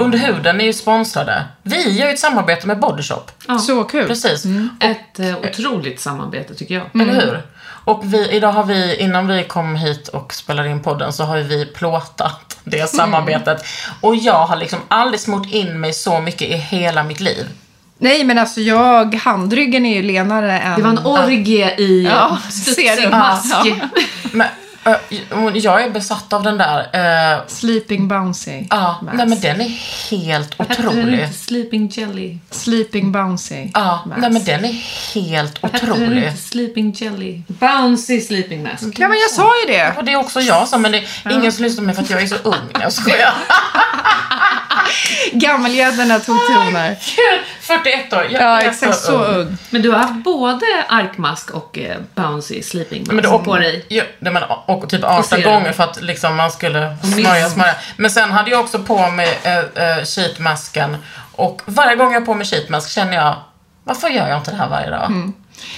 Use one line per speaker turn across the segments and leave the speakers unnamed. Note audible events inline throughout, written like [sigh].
Under huden är ju sponsrade. Vi gör ju ett samarbete med Body Shop.
Så kul.
Precis.
Ett eh, otroligt samarbete tycker jag.
Mm.
Eller hur? Och vi, idag har vi, innan vi kom hit och spelade in podden, så har ju vi plåtat det samarbetet. Och jag har liksom aldrig smort in mig så mycket i hela mitt liv.
Nej, men alltså jag, handryggen är ju lenare än...
Det var en orgie i
Ja, ser du?
studsig mask.
Ja.
Men ö, jag är besatt av den där. eh,
Sleeping bouncy.
Ja,
mask.
nej men den är helt
Hette den
otrolig.
inte Sleeping Jelly?
Sleeping bouncy.
Ja,
mask.
nej men den är helt
Hette den
otrolig.
inte Sleeping Jelly? Mm. Bouncy Sleeping Mask.
Ja, men jag sa ju det.
Och det är också jag som, men det är ingen som lyssnar på mig för att jag är så ung. Jag skojar.
[laughs] Gammelgäddorna tog toner.
41 år, jag
Ja,
är
exakt så ung.
Men du har haft både arkmask och eh, bouncy sleeping mask
Men
Alltså
då åkte,
på dig.
Ja, nej, men, å- åkte typ 18
serum.
gånger för att liksom man skulle smörja,
mist.
smörja. Men sen hade jag också på mig äh, äh, sheetmasken. Och varje gång jag har på mig sheetmask känner jag, varför gör jag inte det här varje dag?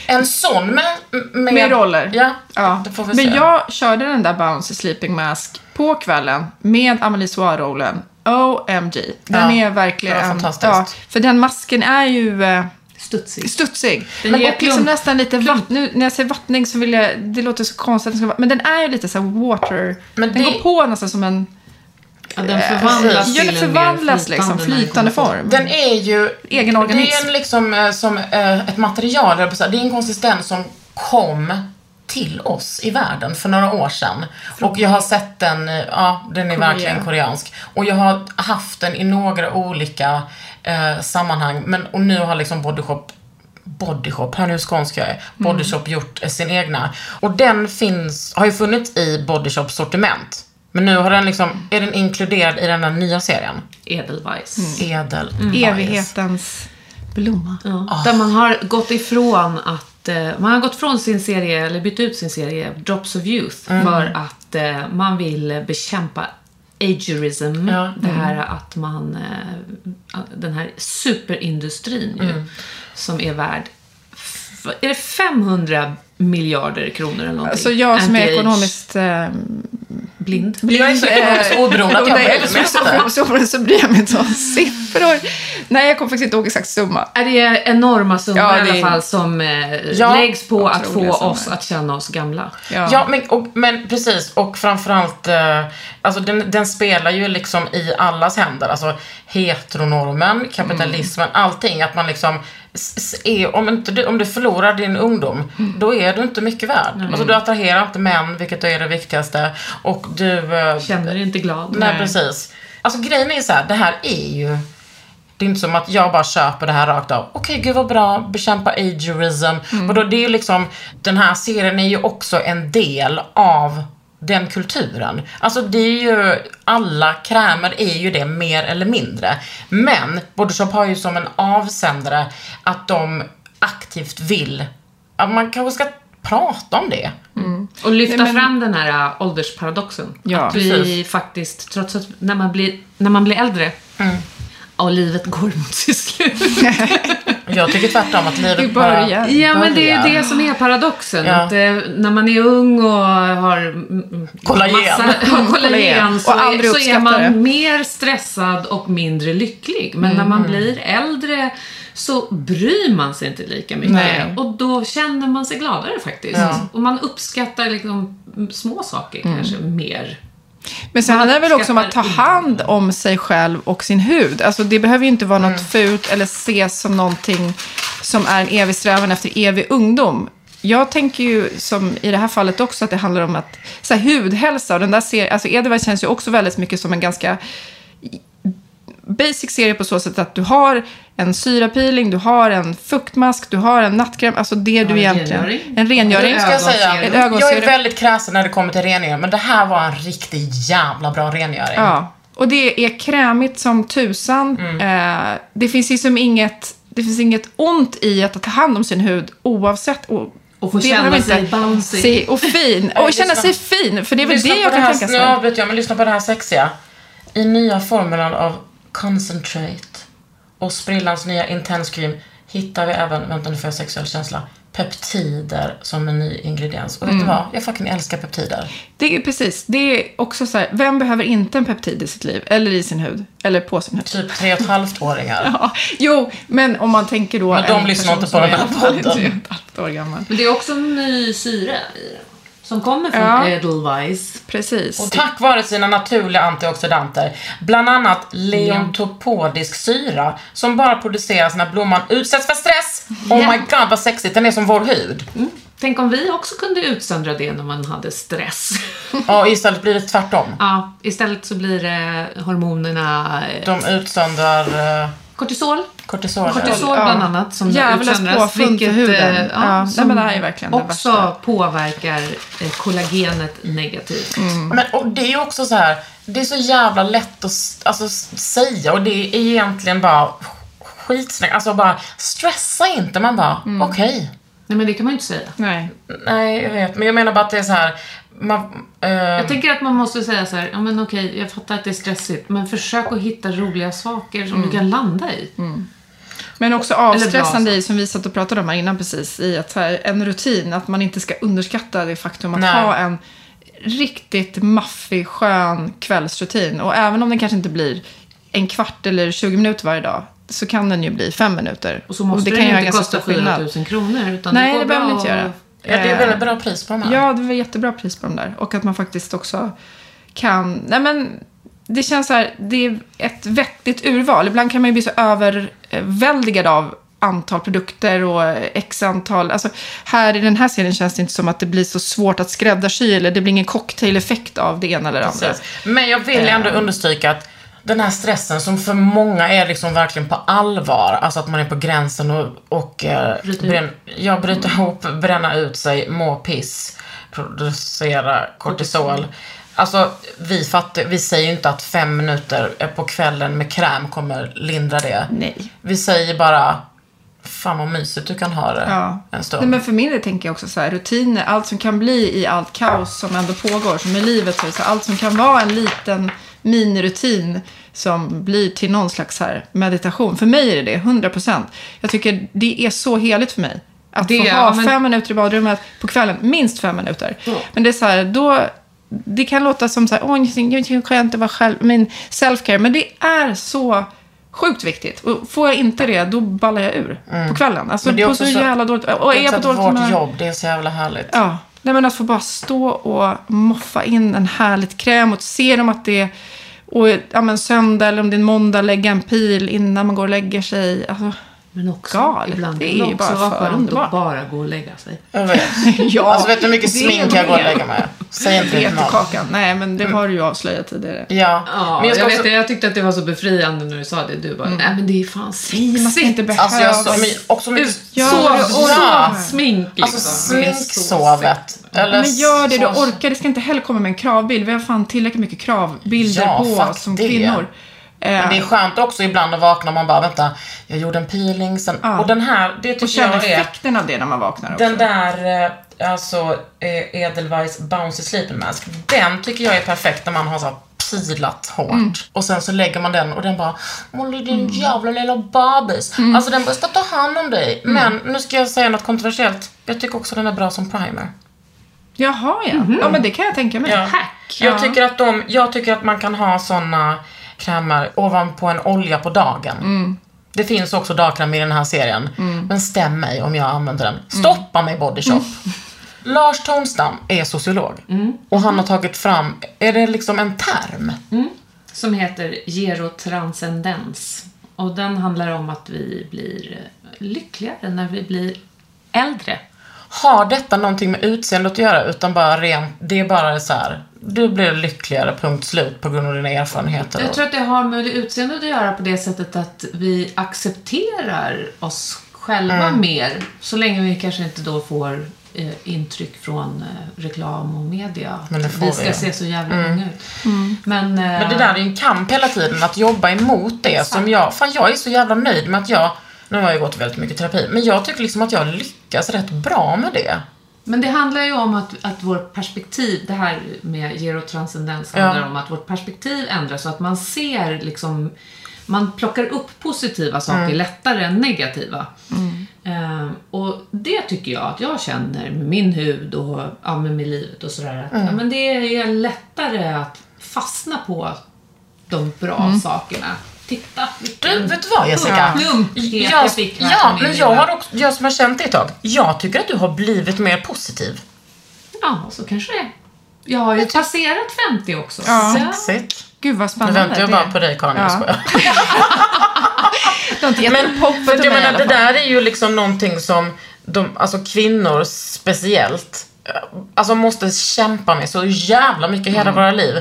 En sån med... Med,
Mm. Med roller.
Ja,
Ja.
det får vi
Men
se.
jag körde den där bouncy sleeping mask på kvällen med Amelie Soir-rollen. OMG. Den
Ja,
är verkligen...
det var fantastiskt.
för den masken är ju... Eh,
Studsig.
studsig.
Den
men
ger
och liksom
plump-
nästan lite vatt, nu När jag säger vattning så vill jag, det låter så konstigt att den ska vara, men den är ju lite så här water,
Men
den
det-
går på nästan som en,
Ja, den förvandlas
ja
till
den
en
förvandlas
mer
liksom,
när den
flytande
kommer på.
form.
Den är ju...
Egen
Det är
organism.
en liksom eh, som eh, ett material, höll jag på att säga. det är en konsistens som kom till oss i världen för några år sedan. Och jag har sett den, eh, ja den är verkligen koreansk. Och jag har haft den i några olika eh, sammanhang. Men, och nu har liksom Bodyshop Bodyshop, hör ni hur skånsk
Mm.
jag är? Bodyshop gjort eh, sin egna. Och den finns, har ju funnits i Bodyshops sortiment. Men nu har den liksom, är den inkluderad i den här nya serien.
Mm.
Edelweiss.
Mm. Edel.
Evighetens blomma.
Ja. Där man har gått ifrån att eh, man har gått från sin serie, eller bytt ut sin serie Drops of Youth
Mm.
för att eh, man vill bekämpa agerism.
Ja.
Det här
Mm.
att man, eh, den här superindustrin
Mm.
ju, som är värd, f- är det 500 miljarder kronor eller någonting?
Alltså jag som är
Anti-age
ekonomiskt eh,
blind.
Jag är så ekonomiskt oberoende att jag
Nej,
bryr mig
så,
inte.
[laughs] så, så, så bryr jag mig inte om siffror. Nej, jag kommer faktiskt inte ihåg exakt summa.
Är det enorma summor
Ja,
i
det är-
alla fall som eh,
Ja,
läggs på att få
otroliga summor.
oss att känna oss gamla?
Ja.
Ja, men, och, men precis. Och framförallt, eh, alltså den, den spelar ju liksom i allas händer. Alltså heteronormen, kapitalismen, allting. Att man liksom, s- s- är, om, inte du, om du förlorar din ungdom, då är du inte mycket värd. Alltså du attraherar inte män, vilket är det viktigaste. Och du... eh,
Känner dig inte glad?
Nej, precis. Alltså grejen är så här, det här är ju... Det är inte som att jag bara köper det här rakt av. Okej, gud vad bra, bekämpa ageism.
Mm.
Och då, det är ju liksom, den här serien är ju också en del av den kulturen. Alltså det är ju, alla krämer är ju det mer eller mindre. Men Bodyshop har ju som en avsändare att de aktivt vill, att man kanske ska prata om det.
Och lyfta
Nej, men-
fram den här äh, åldersparadoxen.
Ja.
att vi
Precis.
faktiskt, trots att när man blir, när man blir äldre
Mm.
och livet går mot sitt slut.
[laughs]
Jag tycker tvärtom att livet
I början.
ja, men det är
börjar.
ju det som är paradoxen.
Ja.
Att, eh, när man är ung och har mm,
Kollagen.
ja, [laughs] kollagen
[laughs] Kollagen.
så,
Och
är,
aldrig
så är man
uppskattar det.
mer stressad och mindre lycklig. Men när
Mm.
man blir äldre så bryr man sig inte lika mycket.
Nej.
Och då känner man sig gladare faktiskt. Och man uppskattar liksom mm, små saker kanske mer.
Men sen handlar det väl också om att ta
uppskattar
hand om sig själv och sin hud. Alltså det behöver ju inte vara något
Mm.
fult eller ses som någonting som är en evig strävan efter evig ungdom. Jag tänker ju, som i det här fallet också, att det handlar om att så här, hudhälsa. Och den där ser, alltså Edelweiss känns ju också väldigt mycket som en ganska basic serie på så sätt att du har en syrapeeling, du har en fuktmask, du har en nattkräm. Alltså det du
en
egentligen...
rengöring.
En rengöring.
Och
Ska jag säga.
Ögonserum.
Ett
Jag är
ögonserum.
väldigt kräsen när det kommer till rengöring, men det här var en riktigt jävla bra rengöring.
Ja, och det är krämigt som tusan.
Mm.
Eh, det finns liksom inget, det finns inget ont i att ta hand om sin hud oavsett. Och,
Och få
det behöver
känna sig bouncy.
Se,
[laughs]
och fin. Och känna
lyssna.
sig fin, för det är väl
Lyssna
det
på
jag kan
här,
tänka
Nu
mig.
avbryter jag, men lyssna på det här sexiga. I nya formulan av Concentrate och sprillans nya Intense Cream hittar vi även, vänta nu får jag sexuell känsla, peptider som en ny ingrediens. Och
Mm.
vet du vad? Jag fucking älskar peptider.
Det är precis. Det är också så här, vem behöver inte en peptid i sitt liv? Eller i sin hud? Eller på sin hud? [laughs]
Typ tre och ett halvt åringar.
Ja, jo, men om man tänker då...
Men de
en
lyssnar
person
inte på
som
den här
är [laughs] i alla fall
podden.
tre och ett halvt år gammal.
Men det är också en ny syra i den. Som kommer från
Ja.
Edelweiss.
Precis.
Och tack vare sina naturliga antioxidanter, bland annat leontopodisk syra, som bara produceras när blomman utsätts för stress. Oh my god vad sexigt, den är som vår hud.
Tänk om vi också kunde utsöndra det när man hade
[laughs]
stress.
Ja, istället blir det tvärtom.
ja, istället så blir det hormonerna eh,
De utsöndrar eh,
kortisol.
kortisol.
Kortisol
Ja.
bland annat som
Djävulens
utsöndras.
påfund för
Vilket,
huden.
eh,
Ja, nej,
som
men det här är verkligen det
också
värsta.
påverkar eh, kollagenet negativt.
Mm.
Men, och det är ju också så här, det är så jävla lätt att s- alltså, s- säga och det är egentligen bara skitsnack. Alltså bara, stressa inte. Man bara,
Mm.
okej.
Nej men det kan man ju inte säga.
Nej.
Nej, jag vet. Men jag menar bara att det är så här, man, eh,
Jag tänker att man måste säga så här, ja men okej, jag fattar att det är stressigt, men försök att hitta roliga saker som
Mm.
du kan landa i.
Men också
Eller
avstressande
bra.
i, som vi satt och pratade om här innan precis, i att så här, en rutin, att man inte ska underskatta det faktum att
Nej.
ha en riktigt maffig, skön kvällsrutin. Och även om den kanske inte blir en kvart eller 20 minuter varje dag, så kan den ju bli fem minuter.
Och så måste det,
kan göra
inte
ganska
kosta
stor skillnad.
4000 kronor. Utan
Nej,
går
det behöver
bra
man inte göra.
att-
ja, det är väldigt bra pris på de här.
Ja, det var jättebra pris på de där. Och att man faktiskt också kan... Nej, men det känns så här, det är ett vettigt urval. Ibland kan man ju bli så överväldigad av antal produkter och x antal. Alltså, här i den här serien känns det inte som att det blir så svårt att skräddarsy eller det blir ingen cocktaileffekt av det ena eller det andra.
Precis. Men jag vill ändå
Eh.
understryka att den här stressen som för många är liksom verkligen på allvar, alltså att man är på gränsen och, och eh,
Bryter
brän, ja, bryta ihop, bränna ut sig, må piss, producera kortisol. Alltså vi fattar, vi säger ju inte att fem minuter eh, på kvällen med kräm kommer lindra det.
Nej.
Vi säger bara, fan vad mysigt du kan ha det
Ja.
eh,
en stund.
Nej, men för min del tänker jag också så här, rutiner, allt som kan bli i allt kaos som ändå pågår, som i livet, så är det så här, allt som kan vara en liten minirutin som blir till någon slags så här meditation. För mig är det det, 100%. Jag tycker det är så heligt för mig. Att
Det-
få ha
ja, men-
fem minuter i badrummet på kvällen, minst fem minuter. Men det är så här, då... Det kan låta som så här, åh, det är skönt att vara själv, min self-care. Men det är så sjukt viktigt. Och får jag inte det, då ballar jag ur
Mm.
på kvällen. Alltså
Men det är
på
också
så
så-
jävla dåligt. Och är jag på
Också att
dåligt
vårt
humör.
jobb, det är så jävla härligt.
Ja. Nej men att få bara stå och moffa in en härligt kräm och se dem att det är och ja, men söndag eller om det är en måndag, lägga en pil innan man går och lägger sig. Alltså, [laughs]
Men också
Galet.
ibland
Det är
kan
ju
också
bara
vara
för
skönt
underbart.
att bara gå och lägga sig.
Jag vet.
ja,
Alltså vet du hur mycket
det
smink
är
jag går och
det.
lägger mig? Mm. Säg inte
Det
det
är
till någon.
kakan. Nej, men det har du ju avslöjat tidigare.
Ja.
Ja,
men jag
jag,
ska också...
vet det, jag tyckte att det var så befriande när du sa det. Du bara, nej men det är fan
Nej, man ska
sexigt.
inte behöva...
Alltså jag så, men också mycket...
Ut,
Ja,
sov,
det
sov,
bra.
smink liksom.
Alltså
Det är så sexigt.
sminksovet. Eller
men gör det du
så-
orkar. Det ska inte heller komma med en kravbild. Vi har fan tillräckligt mycket kravbilder
Ja,
på
fuck
oss som
det.
kvinnor. Eh,
Men det är skönt också ibland att vakna och man bara vänta, jag gjorde en peeling sen.
Ja.
Och den här, det
och
tycker
känna
jag är
effekten av det när man vaknar också.
den där eh, alltså eh, Edelweiss Bouncy Sleeping Mask. Den tycker jag är perfekt när man har så här pilat hårt. Och sen så lägger man den och den bara Molly din jävla lilla babys. Alltså den bara, ska ta hand om dig. Men nu ska jag säga något kontroversiellt. Jag tycker också den är bra som primer.
Jaha, ja. Ja, men det kan jag tänka mig.
Ja.
Hack.
Jag,
Mhm. Ja.
tycker att de, jag tycker att man kan ha såna krämer ovanpå en olja på dagen. Det finns också dagkräm i den här serien. Men stäm mig om jag använder den. Stoppa mig Body Shop. [laughs] Lars Tornstam är sociolog. Och han har tagit fram, är det liksom en term?
Som heter Gerotranscendens. Och den handlar om att vi blir lyckligare när vi blir äldre.
Har detta någonting med utseendet att göra utan bara rent, det är bara så här du blir lyckligare, punkt slut, på grund av dina erfarenheter.
Jag tror att det har med utseende att göra på det sättet att vi accepterar oss själva
Mm.
mer. Så länge vi kanske inte då får eh, intryck från eh, reklam och media.
Men det
att
får
vi
vi
ska
ju. Mm.
se så jävla unga ut. Men, eh,
Men det där är ju en kamp hela tiden, att jobba emot det som jag... Fan, jag är så jävla nöjd med att jag... Nu har jag ju gått väldigt mycket terapi, men jag tycker liksom att jag lyckas rätt bra med det.
Men det handlar ju om att, att vårt perspektiv, det här med gerotranscendens
Ja.
handlar om att vårt perspektiv ändras så att man ser liksom, man plockar upp positiva saker
Mm.
lättare än negativa. Eh, och det tycker jag att jag känner med min hud och ja, men med livet och sådär. Att,
Mm.
ja, men det är lättare att fastna på de bra sakerna. Titta
Mm. Du,
Mm.
vilken
vet du vad Jessica?
plump jag,
Jag,
fick
ja,
verkligen
men
i
jag,
det.
har också, jag som har känt dig ett tag, jag tycker att du har blivit mer positiv.
Ja, så kanske det är. Jag har ju passerat 50 också.
Ja.
Så jag-
Sexigt.
Gud vad
Nu
spännande.
väntar jag
det
bara
är.
på dig Karin, jag
Ja.
skojar.
Du har inte gett
Men
men, hoppet
för
till
att jag
mig i alla
menar, det
fall.
där är ju liksom någonting som de, alltså kvinnor speciellt, eh, alltså måste kämpa med så jävla mycket hela
Mm.
våra liv.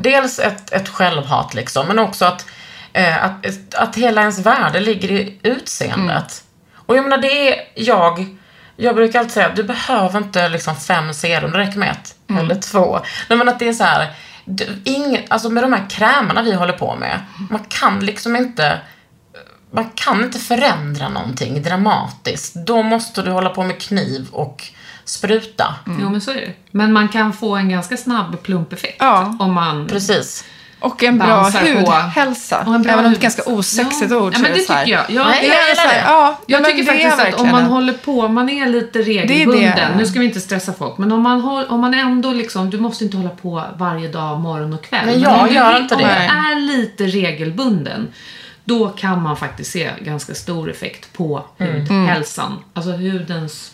Dels ett, ett självhat liksom, men också att, eh, att, att hela ens värde ligger i utseendet.
Mm.
Och jag menar, det är jag, jag brukar alltid säga, du behöver inte liksom fem serum, det räcker med ett
Mm.
eller två. Nej, men att det är så här, du, ingen, alltså med de här krämerna vi håller på med,
Mm.
man kan liksom inte man kan inte förändra någonting dramatiskt. Då måste du hålla på med kniv och spruta.
Jo, men så är det. Men man kan få en ganska snabb plumpeffekt
Ja.
om man...
Precis.
Och en bra
Dansar på.
hudhälsa.
och en bra
Även om
hud.
det är ett ganska osexigt ord.
Ja,
så
men
är
det
så här-
tycker jag. Jag,
Nej,
jag,
jag gillar det.
Ja,
jag
men
tycker
det är
faktiskt att om
verkligen
man
en-
håller på, man är lite
det.
regelbunden. Nu ska vi inte stressa folk, men om man, håll, om man ändå liksom, du måste inte hålla på varje dag, morgon och kväll.
Nej,
Men
jag
om du
gör
vill-
inte
om
det.
man är lite regelbunden, då kan man faktiskt se ganska stor effekt på
Mm.
hudhälsan. Alltså hudens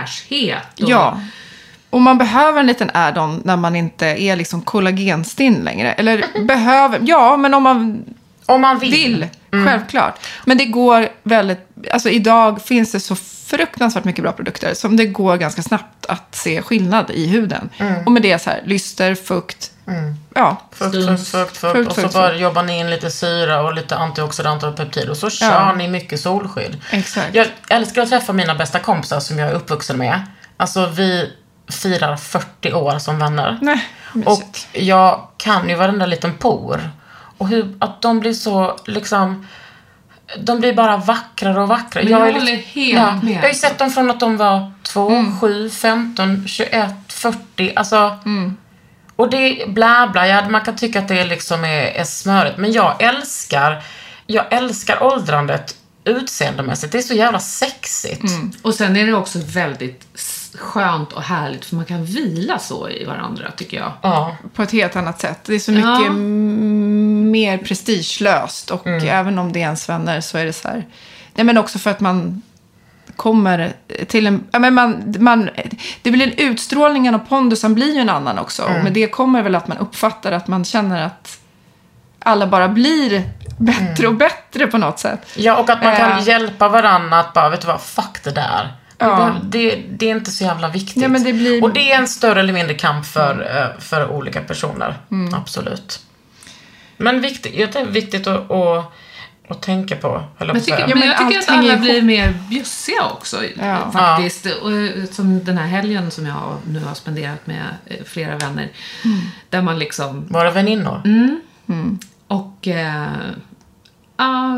fräschhet. och-
Ja. Och man behöver en liten add-on när man inte är liksom kollagenstinn längre. Eller behöver, ja men om man
Om man vill. Mm.
vill, självklart. Men det går väldigt, alltså idag finns det så fruktansvärt mycket bra produkter som det går ganska snabbt att se skillnad i huden.
Mm.
Och med det så här, lyster, fukt, ja.
Fukt, fukt, fukt, fukt.
Fukt,
Och så
fukt,
bara
fukt.
jobbar ni in lite syra och lite antioxidanter och peptider. Och så kör
Ja.
ni mycket solskydd.
Exakt.
Jag älskar att träffa mina bästa kompisar som jag är uppvuxen med. Alltså vi firar 40 år som vänner.
Nej,
Och jag kan ju varenda liten por. Och hur, att de blir så liksom... De blir bara vackrare och vackrare.
Men jag
är liksom-
håller helt med. Mm.
Jag har ju sett dem från att de var 2, 7, 15, 21, 40. Alltså...
Mm.
Och det är bla bla, ja, man kan tycka att det liksom är, är smörigt. Men jag älskar, jag älskar åldrandet utseendemässigt. Det är så jävla sexigt.
Och sen är det också väldigt s- skönt och härligt för man kan vila så i varandra tycker jag.
Ja.
på ett helt annat sätt. Det är så mycket
Ja.
m- mer prestigelöst och även om det är ens vänner så är det så här. Nej men också för att man kommer till en... Ja, men man, man, det blir en utstrålningen och pondusen blir ju en annan också. Och med det kommer väl att man uppfattar att man känner att alla bara blir bättre och bättre på något sätt.
Ja, och att man kan
Eh.
hjälpa varandra att bara, vet du vad, fuck det där. Det,
Ja.
behöver- det, det är inte så jävla viktigt.
Ja, men det blir-
Och det är en större eller mindre kamp för, eh, för olika personer.
Mm.
Absolut. Men viktigt, jag tror det är viktigt att, att, att tänka på, höll jag på
Men
att
jag tycker,
säga.
Ja,
men
men
jag tycker att
allting
alla
är-
blir mer bjussiga också
Ja.
faktiskt. Och, eh, som den här helgen som jag har- nu har spenderat med eh, flera vänner.
Mm.
Där man liksom
Våra väninnor.
Mm.
och eh, ah,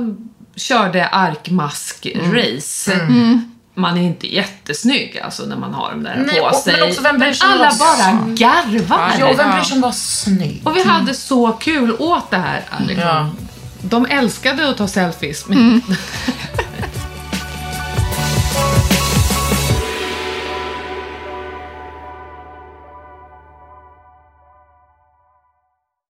körde arkmask-race.
Mm.
Man är inte jättesnygg alltså när man har dem där
Nej,
på
och-
sig.
men också vem bryr sig om
alla
oss?
bara garvar.
Ja, och vem bryr sig om att vara snygg?
Och vi hade så kul åt det här. Liksom.
Ja. Mm.
De älskade att ta selfies. Men